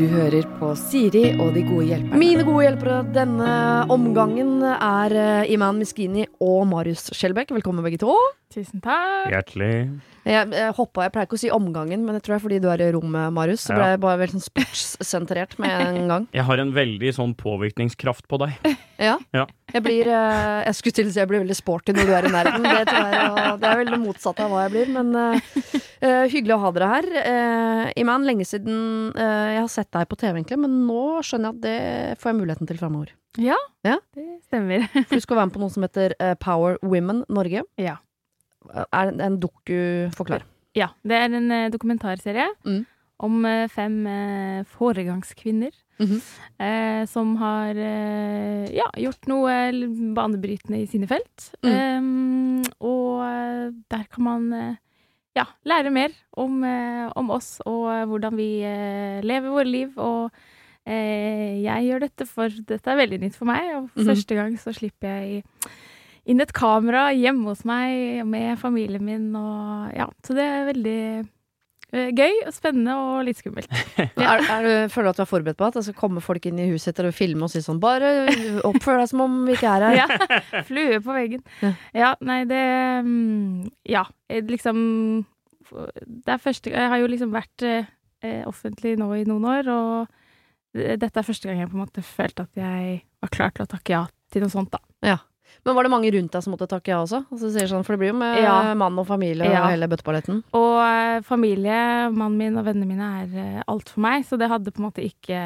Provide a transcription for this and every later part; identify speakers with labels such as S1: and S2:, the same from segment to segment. S1: Du hører på Siri og de gode hjelperne.
S2: Mine gode hjelpere denne omgangen er eh, Iman Miskini og Marius Skjelbæk. Velkommen begge to.
S3: Tusen takk.
S4: Hjertelig.
S2: Jeg, jeg hoppa, jeg pleier ikke å si omgangen, men jeg tror det er fordi du er i rommet, Marius. Så
S4: Ja.
S2: ble jeg bare veldig sånn sportssentrert med en gang.
S4: Jeg har en veldig sånn påvirkningskraft på deg.
S2: Ja.
S4: Ja.
S2: Jeg blir eh, Jeg skulle til å si jeg blir veldig sporty når du er i nærheten. Det, tror jeg, og det er vel det motsatte av hva jeg blir, men eh, eh, hyggelig å ha dere her. Eh, Iman, lenge siden eh, jeg har sett deg på TV, egentlig, men nå skjønner jeg at det får jeg muligheten til framover.
S3: Ja,
S2: Ja.
S3: det stemmer.
S2: For du skal være med på noe som heter eh, Power Women Norge.
S3: Ja.
S2: Er en, en doku Forklar.
S3: Ja, det er en eh, dokumentarserie
S2: Mm.
S3: om eh, fem eh, foregangskvinner
S2: Mhm.
S3: eh, som har eh, ja, gjort noe eh, banebrytende i sine felt. Eh, og eh, der kan man eh, ja, lære mer om, eh, om oss og eh, hvordan vi eh, lever våre liv. Og eh, jeg gjør dette, for dette er veldig nytt for meg. Og for
S2: Mhm.
S3: første gang så slipper jeg inn et kamera hjemme hos meg med familien min. Og, ja, så det er veldig eh, gøy og spennende og litt skummelt.
S2: Er, er du, føler du at du er forberedt på at det skal komme folk inn i huset etter å filme og si sånn Bare oppfør deg som om vi ikke er her.
S3: Ja. Flue på veggen.
S2: Ja.
S3: Ja, nei, det mm, Ja, eh, liksom Det er første Jeg har jo liksom vært eh, eh, offentlig nå i noen år, og det- dette er første gang jeg på en måte følte at jeg var klar til å takke ja til noe sånt, da.
S2: Men var det mange rundt deg som måtte takke ja også? Altså, du sier sånn, for det blir jo med
S3: Ja.
S2: mann og familie
S3: Ja.
S2: og hele bøtteballetten.
S3: Og eh, familie, mannen min og vennene mine er eh, alt for meg, så det hadde på en måte ikke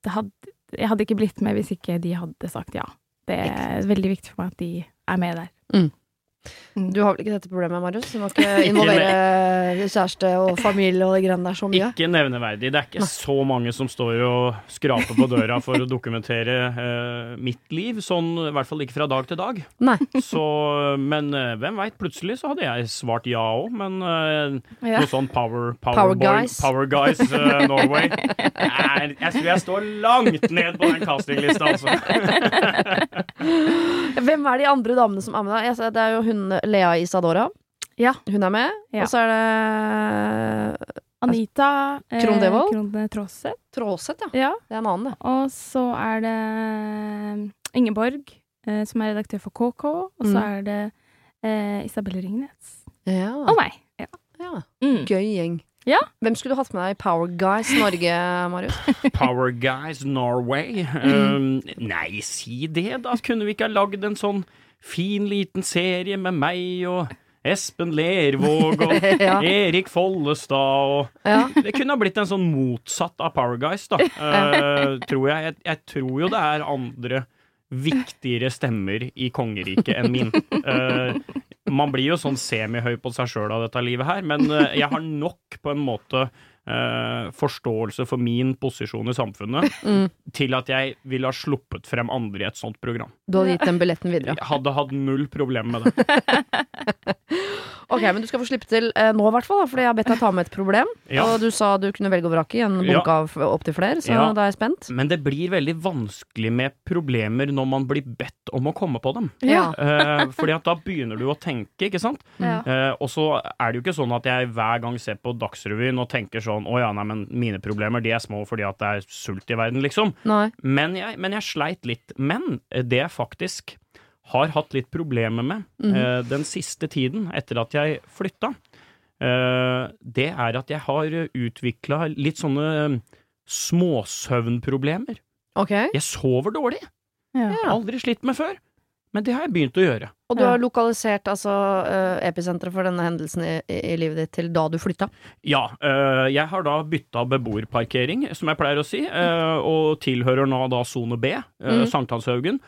S3: det hadde, Jeg hadde ikke blitt med hvis ikke de hadde sagt ja. Det er veldig viktig for meg at de er med der.
S2: Du har vel ikke dette problemet, Marius? Du må ikke involvere kjæreste og familie og de greiene der så mye.
S4: Ikke nevneverdig. Det er ikke
S2: Nei.
S4: så mange som står og skraper på døra for å dokumentere eh, mitt liv, sånn i hvert fall ikke fra dag til dag.
S2: Nei.
S4: Så, men eh, hvem veit, plutselig så hadde jeg svart ja òg, men eh,
S3: Ja.
S4: noe sånn power,
S2: Power
S4: power, boy-
S2: guys.
S4: power guys eh, Norway Nei, Jeg tror jeg står langt ned på den castinglista, altså.
S2: Hvem er de andre damene som er med deg? Jeg ser- Det er jo hun Lea Isadora.
S3: Ja.
S2: Hun er med.
S3: Ja.
S2: Og så er det
S3: Anita eh,
S2: Krohn Devold?
S3: Krohn Traase.
S2: Tråseth, ja.
S3: Ja.
S2: Det er en annen, det.
S3: Og så er det Ingeborg, eh, som er redaktør for KK. Og så
S2: Mm.
S3: er det eh, Isabel Ringnes.
S2: Ja.
S3: Og meg. Ja.
S2: ja.
S3: Mm.
S2: Gøy gjeng.
S3: Ja.
S2: Hvem skulle du hatt med deg i Power Guys Norge, Marius?
S4: Power Guys Norway. Um, nei, si det, da. Kunne vi ikke ha lagd en sånn fin, liten serie med meg og Espen Lervåg og
S2: ja.
S4: Erik Follestad og
S2: ja.
S4: Det kunne ha blitt en sånn motsatt av Power Guys, da. Eh, tror jeg. jeg. Jeg tror jo det er andre viktigere stemmer i kongeriket enn min. Eh, man blir jo sånn semihøy på seg sjøl av dette livet her, men eh, jeg har nok på en måte eh, forståelse for min posisjon i samfunnet
S2: Mm.
S4: til at jeg ville ha sluppet frem andre i et sånt program.
S2: Du hadde gitt den billetten videre.
S4: Jeg hadde hatt null problem med det.
S2: Ok, men du skal få slippe til eh, nå i hvert fall, da, fordi jeg har bedt deg ta med et problem.
S4: Ja.
S2: Og du sa du kunne velge og vrake i en
S4: Ja.
S2: bunke av opptil flere, så
S4: Ja.
S2: da er jeg spent.
S4: Men det blir veldig vanskelig med problemer når man blir bedt om å komme på dem. Eh, fordi at da begynner du å tenke, ikke sant?
S2: Mm.
S3: Ja.
S4: Eh, og så er det jo ikke sånn at jeg hver gang ser på Dagsrevyen og tenker sånn Å ja, nei, men mine problemer de er små fordi at det er sult i verden, liksom.
S2: Nei.
S4: Men jeg, men jeg sleit litt. Men det jeg faktisk har hatt litt problemer med
S2: Mm.
S4: eh, den siste tiden, etter at jeg flytta, eh, det er at jeg har utvikla litt sånne eh, småsøvnproblemer.
S2: Ok.
S4: Jeg sover dårlig.
S2: Ja.
S4: Aldri slitt med før. Men det har jeg begynt å gjøre.
S2: Og du har lokalisert altså, eh, episenteret for denne hendelsen i, i i livet ditt til da du flytta.
S4: Ja, øh, jeg har da bytta beboerparkering, som jeg pleier å si, øh, og tilhører nå da sone B, øh,
S2: Mhm.
S4: Sankthanshaugen.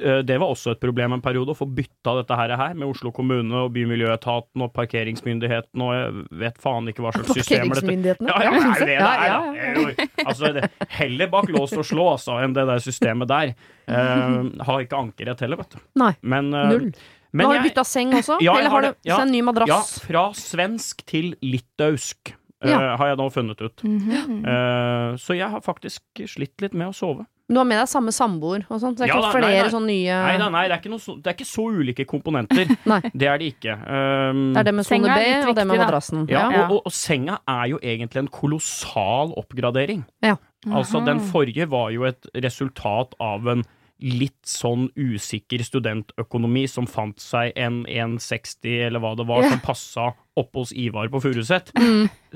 S4: Øh, det var også et problem en periode, å få bytta dette her, her med Oslo kommune og Bymiljøetaten og parkeringsmyndigheten og jeg vet faen ikke hva slags systemer dette
S2: Parkeringsmyndighetene.
S4: ja, ja, det er jo det det
S2: Ja,
S4: er,
S2: ja,
S4: da. Det er jo- Altså, det, heller bak lås og slå, altså, enn det der systemet der. Eh, har ikke ankerrett heller, vet du.
S2: Nei.
S4: Men, eh,
S2: Null.
S4: men
S2: Men har du
S4: jeg-
S2: bytta seng også?
S4: Ja, jeg
S2: Eller
S4: har
S2: har du
S4: det. Ja.
S2: så en ny
S4: ja,
S2: madrass?
S4: fra svensk til litauisk. eh,
S2: Ja.
S4: har jeg nå funnet ut.
S3: Mhm.
S4: Eh, så jeg har faktisk slitt litt med å sove.
S2: Du har med deg samme samboer og sånn, så det er
S4: Ja
S2: ikke
S4: da, nei,
S2: flere
S4: nei.
S2: sånne nye
S4: Nei, nei, nei det, er ikke noe så, det er ikke så ulike komponenter.
S2: Nei.
S4: Det er det ikke. Um,
S2: Det er det med sone
S3: Senga er
S2: B
S3: litt
S2: og det
S3: viktig,
S2: med
S3: da.
S2: madrassen.
S4: ja,
S2: Ja.
S4: og, og, og senga er jo egentlig en kolossal oppgradering.
S2: Ja.
S4: Altså,
S3: Aha.
S4: den forrige var jo et resultat av en litt sånn usikker studentøkonomi som fant seg en 1,60 eller hva det var,
S2: Ja. Mm.
S4: som passa oppe hos Ivar på Furuset.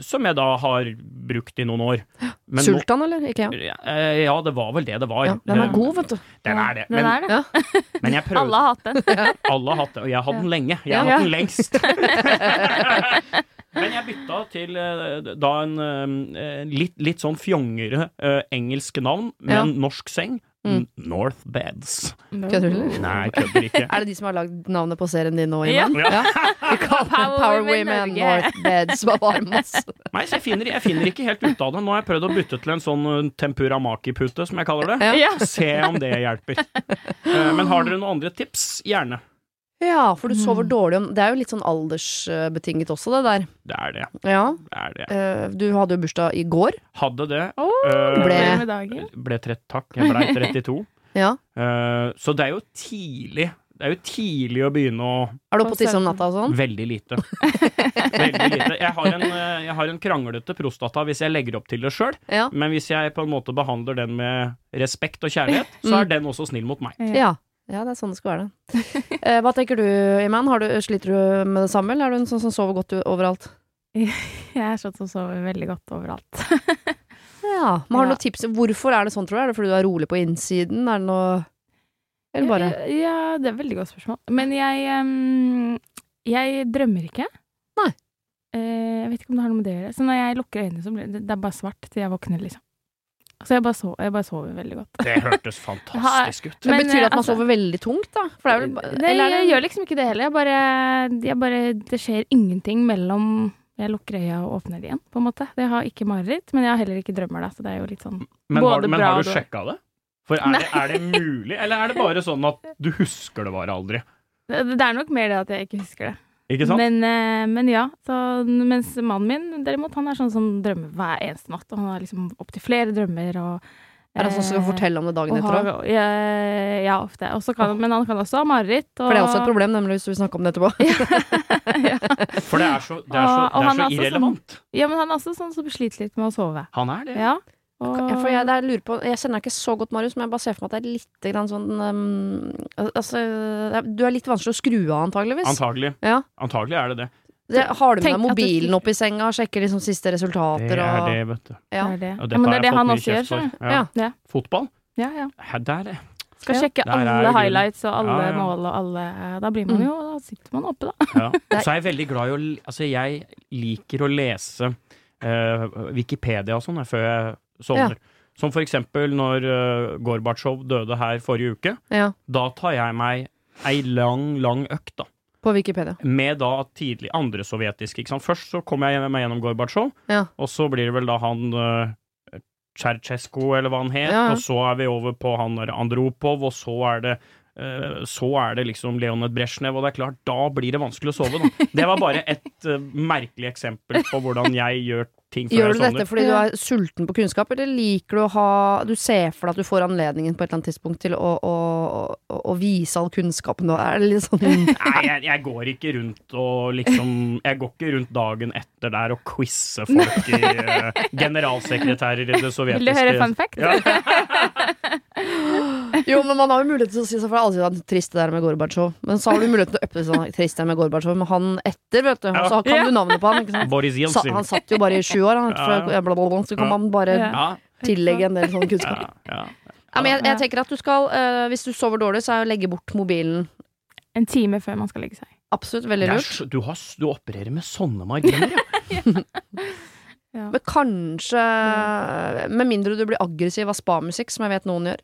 S4: Som jeg da har brukt i noen år. Men nå-
S2: Sultan, eller? Ikke ja.
S4: Ja, eh, ja, det var vel det det var.
S2: ja. Den er god, vet du.
S4: Eh, Den er det.
S3: Den
S4: Men,
S3: er det.
S4: men jeg prøvde
S3: Alle har hatt den.
S4: Alle har hatt det, og jeg har hatt den lenge. Jeg har
S2: Ja.
S4: hatt den lengst. Men jeg bytta til eh, da en eh, litt, litt sånn fjongere eh, engelsk navn, men
S2: Ja.
S4: norsk seng.
S2: Mm.
S4: North Beds.
S2: Kødder du, eller?
S4: Nei, jeg kødder ikke.
S2: Er det de som har lagd navnet på serien din nå,
S3: Ja.
S2: Iman? Ja. Vi kaller
S3: Power
S2: den Power
S3: Women
S2: Women
S3: Norge.
S2: North Beds. Hva var det masse?
S4: Nei, så jeg finner, jeg finner ikke helt ut av det. Nå har jeg prøvd å bytte til en sånn eh, tempuramaki-pute, som jeg kaller det.
S2: Ja.
S3: Ja.
S4: Se om det hjelper. Eh, Men har dere noen andre tips? Gjerne.
S2: Ja, for du
S3: mm.
S2: sover dårlig om Det er jo litt sånn aldersbetinget også, det der.
S4: Det er det.
S2: Ja.
S4: det, er det.
S2: eh, Du hadde jo bursdag i går.
S4: Hadde det.
S3: Åh,
S4: eh,
S2: Ble-
S3: gratulerer med dagen.
S4: ble trett, takk. Jeg blei 32.
S2: Ja.
S4: Eh, så det er jo tidlig. Det er jo tidlig å begynne å
S2: Er du oppe og tisser om natta og sånn?
S4: Veldig lite. Veldig lite. Jeg har en, eh, jeg har en kranglete prostata hvis jeg legger opp til det sjøl,
S2: Ja.
S4: men hvis jeg på en måte behandler den med respekt og kjærlighet,
S3: Mm.
S4: så er den også snill mot meg.
S2: Ja. ja, det er sånn det skal være. det. Eh, hva tenker du, Iman? Har du, sliter du med det samme, eller er du en sånn som sover godt u- overalt?
S3: Jeg er sånn som sover veldig godt overalt.
S2: Ja, men har du
S3: Ja.
S2: noen tips? Hvorfor er det sånn, tror du? Er det fordi du er rolig på innsiden? Er det noe Eller bare
S3: Ja, det er et veldig godt spørsmål. Men jeg ehm, Jeg drømmer ikke.
S2: Nei.
S3: Eh, jeg vet ikke om det har noe med det å gjøre. Så når jeg lukker øynene, så blir det, det er bare svart til jeg våkner, liksom. Så jeg bare, so- jeg bare sover veldig godt.
S4: Det hørtes fantastisk ut.
S2: Men
S3: Men,
S2: Betyr det at man
S3: altså-
S2: sover veldig tungt, da? For det er vel ba-
S3: Nei,
S2: eller er
S3: jeg
S2: det-
S3: gjør liksom ikke det heller. Jeg bare, jeg bare Det skjer ingenting mellom jeg lukker øya og åpner det igjen, på en måte. Jeg har ikke mareritt, men jeg har heller ikke drømmer, da, så det er jo litt sånn
S4: Men har,
S3: Både
S4: men
S3: bra
S4: har
S3: og
S4: du
S3: dårlig.
S4: sjekka det? For er det, er det mulig, eller er det bare sånn at du husker det bare aldri?
S3: Det det er nok mer det at jeg ikke husker det.
S4: Ikke sant?
S3: Men, eh, men ja. Så, mens mannen min derimot, han er sånn som drømmer hver eneste natt. Og han har liksom opptil flere drømmer. Og,
S2: er det sånn som kan
S3: eh,
S2: fortelle om det dagen
S3: og
S2: etter? da?
S3: har- ja, ja, ofte. Og så kan, men han kan også ha mareritt. Og,
S2: For det er også et problem, nemlig hvis vi snakker om det etterpå.
S4: For det er så, det er så,
S3: Og- Ah, og
S4: det er
S3: han
S4: så
S3: er altså sånn- også
S4: irrelevant.
S3: Ja, men han er også sånn som sliter litt med å sove.
S4: Han er det.
S3: Ja. Og,
S2: Ja, for jeg, det er, jeg lurer på, jeg kjenner deg ikke så godt, Marius, men jeg bare ser for meg at det er litt grann sånn um, al- Altså, det er- du er litt vanskelig å skru av, antageligvis.
S4: Antagelig.
S2: Ja.
S4: Antagelig er det det.
S2: det, har du med
S3: Tenk
S2: deg
S3: at du-
S2: mobilen opp i senga, sjekker liksom siste resultater
S4: Det er
S2: og
S4: det, vet du.
S3: det
S2: Ja.
S3: er det.
S4: Og
S3: Ja,
S4: dette
S3: men det er
S4: har jeg
S3: det
S4: fått
S3: han
S4: mye
S3: også gjør.
S4: kjeft for.
S3: Så.
S4: Ja.
S3: Ja.
S4: Fotball?
S3: Ja, ja.
S4: Ja, Der, det.
S3: Skal
S2: Ja.
S3: sjekke
S4: Der er det
S3: alle
S4: grunnen.
S3: highlights og alle
S4: Ja, ja.
S3: mål og alle eh, Da blir man
S2: Mm.
S3: jo Da sitter man oppe, da.
S4: Ja. Så er jeg veldig glad i å l- Altså, jeg liker å lese eh, Wikipedia og sånn jeg, før jeg sovner. Som for eksempel når uh, Gorbatsjov døde her forrige uke.
S2: Ja,
S4: Da tar jeg meg ei lang, lang økt, da.
S2: på Wikipedia.
S4: Med da tidlig andre sovjetiske, ikke sant. Først så kommer jeg meg gjennom Gorbatsjov,
S2: Ja.
S4: og så blir det vel da han uh, eller hva han het,
S2: Ja, ja.
S4: og så er vi over på han der Andropov, og så er det eh, så er det liksom Leonid Brezjnev, og det er klart, da blir det vanskelig å sove, da. Det var bare et eh, merkelig eksempel på hvordan jeg gjør ting før
S2: Gjør
S4: jeg
S2: du dette
S4: sovner.
S2: fordi du er sulten på kunnskap, eller liker du å ha Du ser for deg at du får anledningen på et eller annet tidspunkt til å, å, å, å vise all kunnskapen du har? Er det litt sånn
S4: Nei, jeg, jeg går ikke rundt og liksom Jeg går ikke rundt dagen etter der og quizer folk i eh, generalsekretærer i det sovjetiske
S3: Vil du høre fun fact?
S4: Ja.
S2: Jo, men man har jo mulighet til å si seg for alle sier at det er trist det der med Gorbatsjov. Men så har du muligheten til å uppe det sånn trist det der med Gorbatsjov med han etter, vet du. Og så kan du navnet på han, ikke sant.
S4: Boris
S2: Sa,
S4: Jeltsin.
S2: han satt jo bare i sju år, han, for, bla, bla, bla, så kan man bare
S4: Ja,
S2: tillegge en del sånn
S4: ja,
S2: kunnskap.
S4: ja.
S2: Ja, men jeg, jeg tenker at du skal, eh, hvis du sover dårlig, så er jo legge bort mobilen
S3: En time før man skal legge seg.
S2: absolutt veldig
S4: Det er
S2: lurt.
S4: så- du, har, s- du opererer med sånne marginer, ja.
S3: Ja.
S2: Men kanskje, eh, med mindre du blir aggressiv av spamusikk, som jeg vet noen gjør,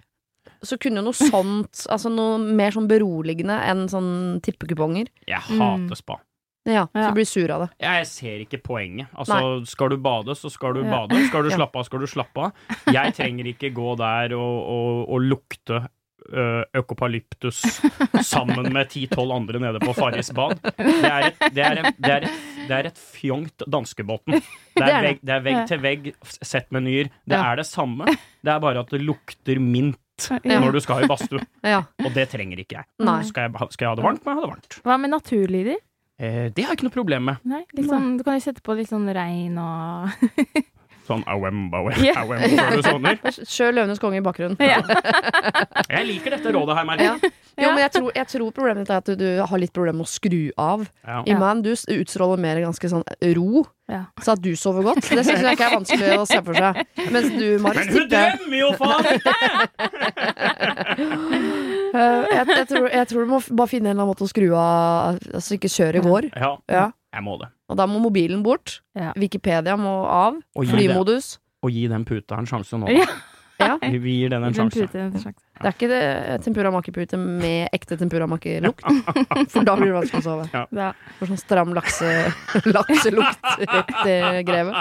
S2: så kunne jo noe sånt, altså noe mer sånn beroligende enn sånn tippekuponger.
S4: Jeg
S3: Mm.
S4: hater spa.
S2: Ja, så
S3: Ja.
S2: blir du sur av det.
S4: Jeg ser ikke poenget. Altså, skal du bade, så skal du
S3: Ja.
S4: bade. Skal du
S2: Ja.
S4: slappe av, skal du slappe av. Jeg trenger ikke gå der og, og, og lukte ø, Økopalyptus sammen med 10-12 andre nede på Farris bad. Det er et, det er et, det er et, det er et fjongt danskebåten. Det
S2: Det er
S4: er
S2: det.
S4: vegg, det er vegg til vegg, sett menyer. Det
S2: Ja.
S4: er det samme, det er bare at det lukter mint
S3: Ja.
S4: når du skal i badstue.
S2: Ja.
S4: Og det trenger ikke jeg.
S2: Nei.
S4: Skal jeg, ha- skal jeg ha det varmt, må jeg ha det varmt.
S3: Hva med naturlyder?
S4: Eh, det har jeg ikke noe problem med.
S3: Nei,
S2: liksom.
S3: litt sånn, du kan jo sette på litt sånn regn og
S4: Sånn awem, awem,
S3: Ja.
S4: awem, før du sovner.
S2: Sjøl Løvenes konge i bakgrunnen.
S3: Ja.
S4: Jeg liker dette rådet her, merker jeg.
S2: Jo, men jeg tror, jeg tror problemet ditt er at du, du har litt problemer med å skru av.
S4: Ja.
S2: Ja. Iman, du s- utstråler mer ganske sånn ro,
S3: Ja.
S2: så at du sover godt. Det syns jeg ikke er vanskelig å se for seg. Mens du, Mari,
S4: Men hun
S2: stikker.
S4: drømmer jo, faen!
S2: Eh, Jeg, jeg, tror, jeg tror du må f- bare finne en eller annen måte å skru av, altså ikke kjør i går.
S4: Ja,
S2: Ja.
S4: jeg må det.
S2: Og da må mobilen bort.
S3: Ja.
S2: Wikipedia må av.
S4: Og gi det.
S2: Flymodus.
S4: Og gi den puta en sjanse nå. da.
S3: Ja.
S2: Ja.
S4: Vi vi gir den en
S3: Den
S4: sjanse.
S3: Sånn pute, en sjanse.
S2: Det er ikke det eh, tempura makipute med ekte tempura makilukt. For da blir det vanskelig å sove.
S3: Ja.
S2: For sånn stram lakse, lakselukt etter grevet.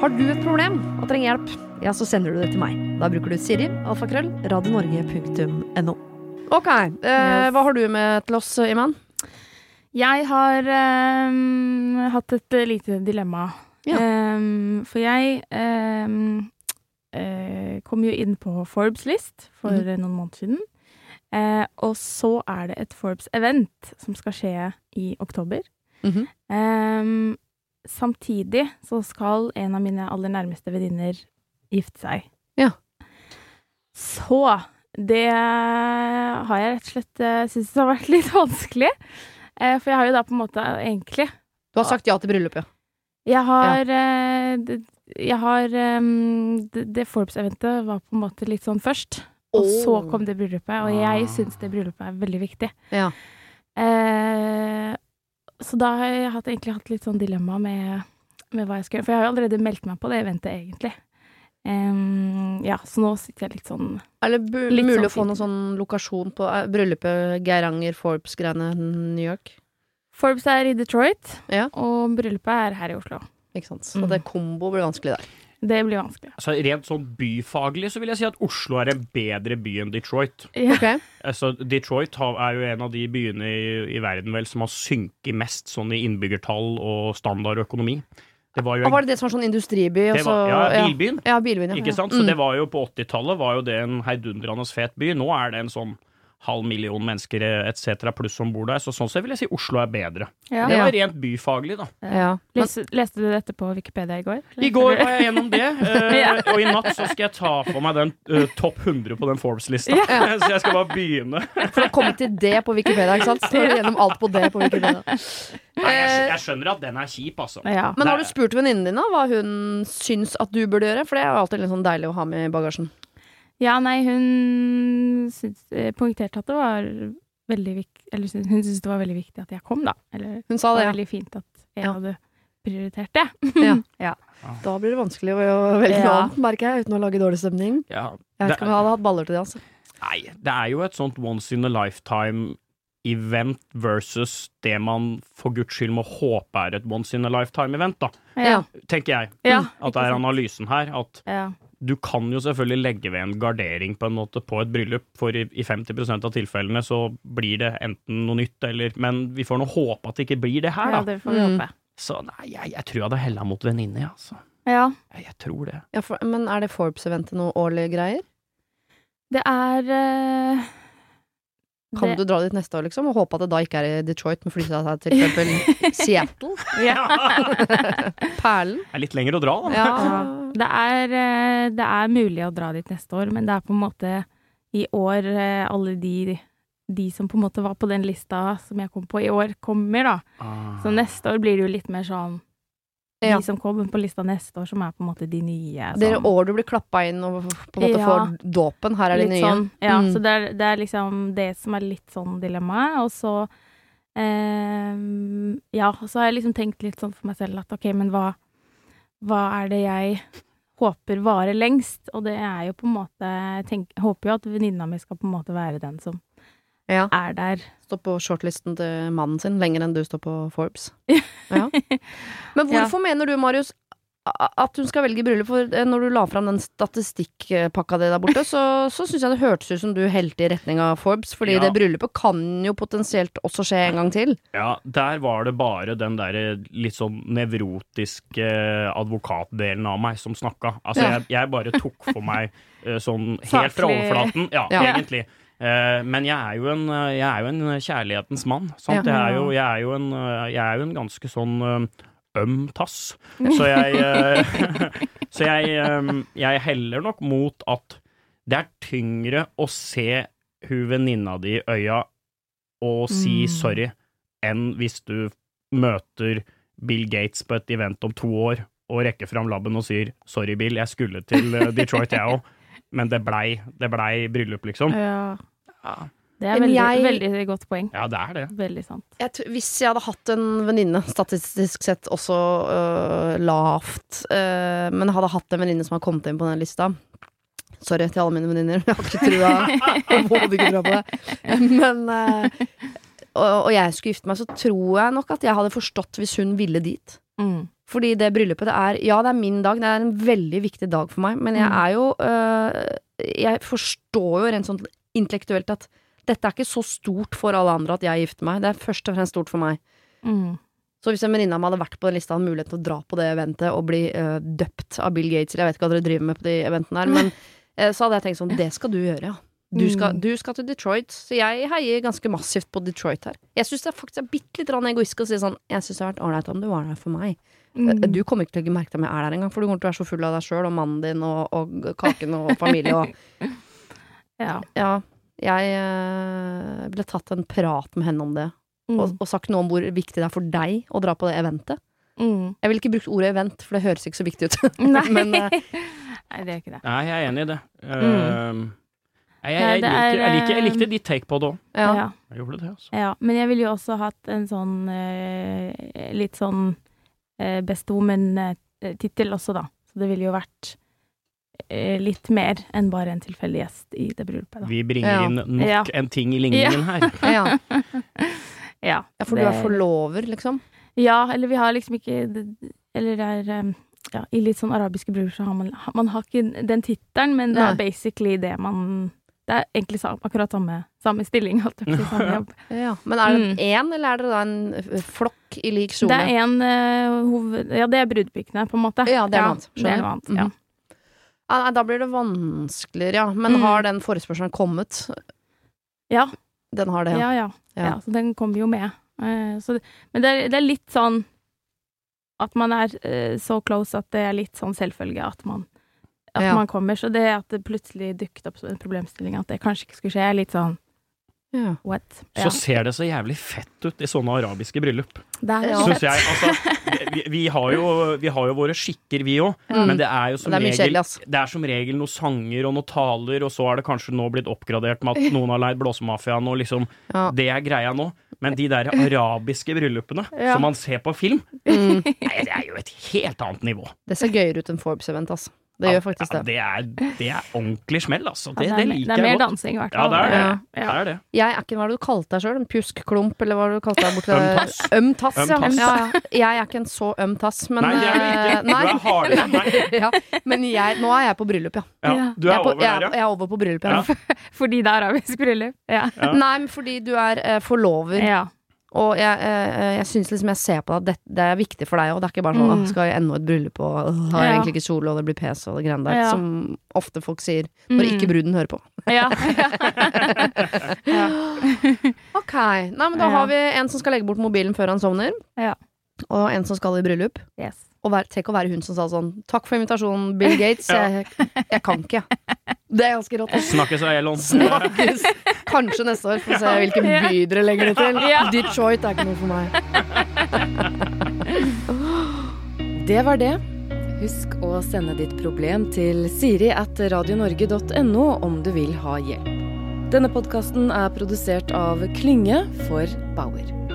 S2: Har du et problem og trenger hjelp, ja, så sender du det til meg. Da bruker du Siri, alfakrøll, radionorge.no. Ok, eh,
S3: Yes.
S2: hva har du med til oss, Iman?
S3: Jeg har ehm, hatt et eh, lite dilemma.
S2: Ja.
S3: Ehm, for jeg ehm, eh, kom jo inn på Forbes list for
S2: Mhm.
S3: eh, noen måneder siden. Eh, og så er det et Forbes-event som skal skje i oktober.
S2: Mhm.
S3: Ehm, samtidig så skal en av mine aller nærmeste venninner gifte seg.
S2: Ja.
S3: Så det har jeg rett og slett eh, syntes har vært litt vanskelig. Eh, For jeg har jo da på en måte eh, egentlig
S2: Du har sagt ja til bryllupet.
S3: Jeg har, eh, det- jeg har em, Det, det Forbes-eventet var på en måte litt sånn først. Og så kom det bryllupet, og
S4: Ah.
S3: jeg syns det bryllupet er veldig viktig.
S2: Ja.
S3: Eh, så da har jeg hatt, egentlig hatt litt sånn dilemma med, med hva jeg skal gjøre. For jeg har jo allerede meldt meg på det eventet, egentlig. Em, ja, så nå sitter jeg litt sånn
S2: Er det bu-
S3: Litt
S2: mulig
S3: sånn
S2: å få
S3: fint.
S2: noen sånn lokasjon på eh, bryllupet Geiranger, Forbes-greiene, New York?
S3: Forbes er i Detroit,
S2: Ja.
S3: og bryllupet er her i Oslo.
S2: Ikke sant? Så det kombo blir vanskelig der.
S3: Det blir vanskelig.
S4: Altså, rent sånn byfaglig så vil jeg si at Oslo er en bedre by enn Detroit.
S3: Ja.
S2: Ok.
S4: Altså, Detroit har, er jo en av de byene i, i verden vel som har synket mest sånn i innbyggertall og standard økonomi. Det var jo
S2: Og
S4: en,
S2: var det det som var sånn industriby? og
S4: det var, ja,
S2: så-
S4: bilbyen.
S2: Ja, bilbyen, ja. Mm.
S4: Ikke sant? Så det var jo på 80-tallet var jo det en heidundrende fet by. Nå er det en sånn halv million mennesker etc. pluss som bor der. Så sånn sett vil jeg si Oslo er bedre. Det
S2: Ja.
S4: var rent byfaglig, da.
S2: Ja. Men,
S3: Leste, leste du dette på Wikipedia i går?
S4: I går var jeg gjennom det, eh,
S3: Ja.
S4: og i natt så skal jeg ta på meg den eh, topp 100 på den Forbes-lista. så jeg skal bare begynne.
S2: for å komme til det på Wikipedia, ikke sant? Står det gjennom alt på det på Wikipedia.
S4: Nei, jeg, skj- jeg skjønner at den er kjip, altså.
S3: Ja.
S2: Men har du spurt venninnen din da hva hun syns at du burde gjøre? For det er jo alltid litt sånn deilig å ha med i bagasjen.
S3: ja, nei, hun syns, eh, poengterte at det var veldig viktig Eller syns- hun syntes det var veldig viktig at jeg kom, da. Eller
S2: Hun sa
S3: det var
S2: det, ja.
S3: veldig fint at jeg
S2: Ja.
S3: hadde prioritert det.
S2: Da blir det vanskelig å velge noe
S3: Ja.
S2: annet, merker jeg, uten å lage dårlig stemning.
S4: Ja,
S2: Jeg vet
S4: det,
S2: ikke om jeg hadde hatt baller til det, altså.
S4: nei, det er jo et sånt once in a lifetime-event versus det man for guds skyld må håpe er et once in a lifetime-event, da.
S2: Ja.
S4: Tenker jeg.
S3: Ja,
S4: At det er analysen her. At
S3: ja.
S4: du kan jo selvfølgelig legge ved en gardering på en måte på et bryllup, for i i 50 av tilfellene så blir det enten noe nytt eller Men vi får nå håpe at det ikke blir det her,
S3: ja,
S4: da.
S3: det får vi
S2: Mm.
S3: håpe.
S4: Så nei, jeg, jeg tror jeg hadde hella mot venninne, jeg, altså.
S3: Ja.
S4: Jeg, jeg tror det.
S2: Ja, for, men er det Forbes-eventet noe årlige greier?
S3: Det er eh,
S2: Kan
S3: det-
S2: du dra dit neste år, liksom? Og håpe at det da ikke er i Detroit, men flytte deg til f.eks. Seattle?
S4: det
S2: Perlen?
S4: er litt lenger å dra, da.
S2: Ja.
S3: Det er, eh, det er mulig å dra dit neste år, men det er på en måte i år eh, alle de, de som på en måte var på den lista som jeg kom på i år, kommer, da.
S4: Ah.
S3: Så neste år blir det jo litt mer sånn de
S2: Ja.
S3: som kom på lista neste år, som er på en måte de nye. sånn.
S2: Det er
S3: som-
S2: år du blir klappa inn og på en måte
S3: Ja.
S2: får dåpen. Her er de
S3: litt
S2: nye.
S3: Sånn, ja,
S2: Mm.
S3: så det er, det er liksom det som er litt sånn dilemmaet. Og så eh, Ja, og så har jeg liksom tenkt litt sånn for meg selv at OK, men hva, hva er det jeg håper varer lengst? Og det er jo på en måte Jeg tenk, håper jo at venninna mi skal på en måte være den som
S2: Ja.
S3: er der.
S2: Står på shortlisten til mannen sin lenger enn du står på Forbes. Ja. Men hvorfor mener du, Marius, a- at hun skal velge bryllup, for eh, når du la fram den statistikkpakka di der borte, så, så syns jeg det hørtes ut som du helte i retning av Forbes, fordi
S4: Ja.
S2: det bryllupet kan jo potensielt også skje en gang til.
S4: Ja, der var det bare den derre litt sånn nevrotiske eh, advokatdelen av meg som snakka. Altså,
S2: Ja.
S4: jeg, jeg bare tok for meg eh, sånn helt fra
S3: Saklig.
S4: overflaten. Ja,
S2: Ja.
S4: egentlig. Eh, men jeg er, jo en, eh, jeg er jo en kjærlighetens mann. Sant?
S2: Ja.
S4: Jeg, er jo, jeg, er jo en, eh, jeg er jo en ganske sånn eh, øm tass. Så jeg eh, Så jeg, eh, jeg heller nok mot at det er tyngre å se hun venninna di i øya og si
S3: Mm.
S4: sorry, enn hvis du møter Bill Gates på et event om to år og rekker fram labben og sier 'sorry, Bill, jeg skulle til eh, Detroit, jeg òg', men det blei, det blei bryllup, liksom.
S3: Ja.
S4: Ja.
S3: Det er
S2: Men
S3: veldig,
S2: jeg-
S3: veldig godt poeng.
S4: Ja, det er det.
S3: Veldig sant.
S2: jeg tr- hvis jeg hadde hatt en venninne, statistisk sett også øh, lavt, øh, men hadde hatt en venninne som hadde kommet inn på den lista Sorry til alle mine venninner, jeg har ikke trua overhodet ikke trua på det. Men øh, og, og jeg skulle gifte meg, så tror jeg nok at jeg hadde forstått hvis hun ville dit.
S3: Mm.
S2: Fordi det bryllupet, det er Ja, det er min dag, det er en veldig viktig dag for meg, men jeg
S3: Mm.
S2: er jo øh, Jeg forstår jo rent sånn intellektuelt at dette er ikke så stort for alle andre at jeg gifter meg. Det er først og fremst stort for meg.
S3: Mm.
S2: Så hvis en venninne av meg hadde vært på den lista, hadde mulighet til å dra på det eventet og bli eh, døpt av Bill Gates, eller jeg vet ikke hva dere driver med på de eventene her, men eh, så hadde jeg tenkt sånn, det skal du gjøre, ja. Du skal,
S3: Mm.
S2: du skal til Detroit, så jeg heier ganske massivt på Detroit her. Jeg syns det er faktisk er bitte litt grann egoistisk å si sånn, jeg syns det hadde vært ålreit om du var der for meg.
S3: Mm.
S2: Eh, Du kommer ikke til å legge merke til om jeg er der engang, for du kommer til å være så full av deg sjøl og mannen din og, og kaken og familie og
S3: Ja.
S2: Ja. Jeg eh, ville tatt en prat med henne om det, og, og sagt noe om hvor viktig det er for deg å dra på det eventet.
S3: Mm.
S2: Jeg ville ikke brukt ordet event, for det høres ikke så viktig ut.
S3: Nei.
S2: Men eh,
S3: Nei, det er ikke det.
S4: Nei, jeg er enig i det.
S3: Mm.
S4: Eh, jeg, jeg,
S3: Nei,
S4: jeg,
S3: det er,
S4: liker, jeg, liker, jeg
S3: eh,
S4: likte ditt take på det òg.
S2: ja.
S3: Ja.
S4: Jeg gjorde det, altså.
S3: Ja, men jeg ville jo også hatt en sånn eh, litt sånn eh, best woman-tittel også, da. Så det ville jo vært eh, litt mer enn bare en tilfeldig gjest i det bryllupet, da.
S4: Vi bringer
S2: Ja.
S4: inn nok
S3: Ja.
S4: en ting i ligningen her.
S2: Ja.
S3: Ja,
S2: ja, for du er
S3: det-
S2: forlover, liksom?
S3: Ja, eller vi har liksom ikke Eller det er eh, ja, I litt sånn arabiske bryllup så har man Man har ikke den tittelen, men det
S2: Nei.
S3: er basically det man Det er egentlig sa- akkurat samme, samme stilling, holdt jeg på å si. Samme jobb.
S2: Ja. Men er det
S3: Mm.
S2: én, eller er det da en eh, flokk i lik
S3: Det
S2: sone?
S3: er en eh, hoved... Ja, det er brudepikene, på en måte.
S2: Ja, det er noe annet.
S3: det er noe
S2: Skjønner.
S3: annet. Ja.
S2: Mhm. Ja, nei, da blir det vanskeligere, ja. Men
S3: Mm.
S2: har den forespørselen kommet?
S3: Ja.
S2: Den har det, ja.
S3: Ja, ja.
S2: Ja.
S3: ja. så den kommer jo med. Eh, så, det- men det er, det er litt sånn at man er eh, så close at det er litt sånn selvfølge at man at
S2: Ja.
S3: man kommer, så det at det plutselig dukket opp som en problemstilling at det kanskje ikke skulle skje, er litt sånn
S2: Ja.
S3: what?
S4: Så ser det så jævlig fett ut i sånne arabiske bryllup.
S3: det er
S2: Ja.
S3: så
S4: Synes
S3: fett.
S4: jeg, altså, vi, vi, har jo, vi har jo våre skikker, vi òg.
S2: Mm.
S4: Men det er jo som
S2: Det er mye
S4: regel
S2: kjedelig, altså. ass.
S4: Det er som regel noen sanger og noen taler, og så er det kanskje nå blitt oppgradert med at noen har leid Blåsemafiaen, og liksom
S2: Ja.
S4: Det er greia nå. Men de der arabiske bryllupene
S3: Ja.
S4: som man ser på film,
S2: Mm.
S4: nei, det er jo et helt annet nivå.
S2: Det ser gøyere ut enn Forbes-event, altså. Det gjør faktisk
S4: Ja,
S2: det.
S4: det, er, det er ordentlig smell, altså.
S3: Ja, det,
S4: Det, det
S3: er, me- det
S4: liker
S3: er mer
S4: jeg godt.
S3: dansing, i hvert
S4: Ja,
S3: fall.
S4: det er det.
S3: Ja.
S4: Det er det.
S2: Jeg er ikke Hva er det du kalte deg sjøl? En pjuskklump, eller hva er det du kalte deg borti
S4: Øm tass.
S2: Øm tass,
S4: Øm
S2: ja.
S4: tass.
S2: ja. ja. Jeg er ikke en så øm tass, men
S4: Nei, det er det
S2: eh,
S4: ikke. Du er hardere enn meg.
S2: ja, men jeg, nå er jeg på bryllup, ja.
S4: Ja,
S3: Ja.
S4: du
S2: jeg,
S4: er
S2: på,
S4: over
S2: jeg, er-
S4: der, ja.
S2: jeg er over på bryllup, ja.
S3: Fordi det er arabisk bryllup. Ja.
S4: Ja.
S2: Nei, men fordi du er eh, forlover,
S3: ja.
S2: og jeg, eh, jeg syns liksom jeg ser på deg at det, det er viktig for deg òg. Det er ikke bare sånn
S3: Mm.
S2: «Åh, skal jeg ennå et bryllup, og øh, har jeg
S3: Ja.
S2: egentlig ikke kjole, og det blir pes og det greiene der,
S3: Ja.
S2: som ofte folk sier når
S3: Mm.
S2: ikke bruden hører på.
S3: ja.
S2: Ok, Nei, men da
S3: Ja.
S2: har vi en som skal legge bort mobilen før han sovner,
S3: Ja.
S2: og en som skal i bryllup.
S3: Yes.
S2: Og vær, tenk å være hun som sa sånn Takk for invitasjonen, Bill Gates.
S4: Ja.
S2: Jeg, jeg kan ikke, jeg. Det er ganske rått. ass.
S4: Snakkes, Elon.
S2: Snakkes. Kanskje neste år, for å se hvilken
S3: Ja.
S2: by dere legger det til.
S3: Ja.
S2: Detroit er ikke noe for meg.
S1: Det var det. Husk å sende ditt problem til siri at radionorge.no om du vil ha hjelp. Denne podkasten er produsert av Klynge for Bauer.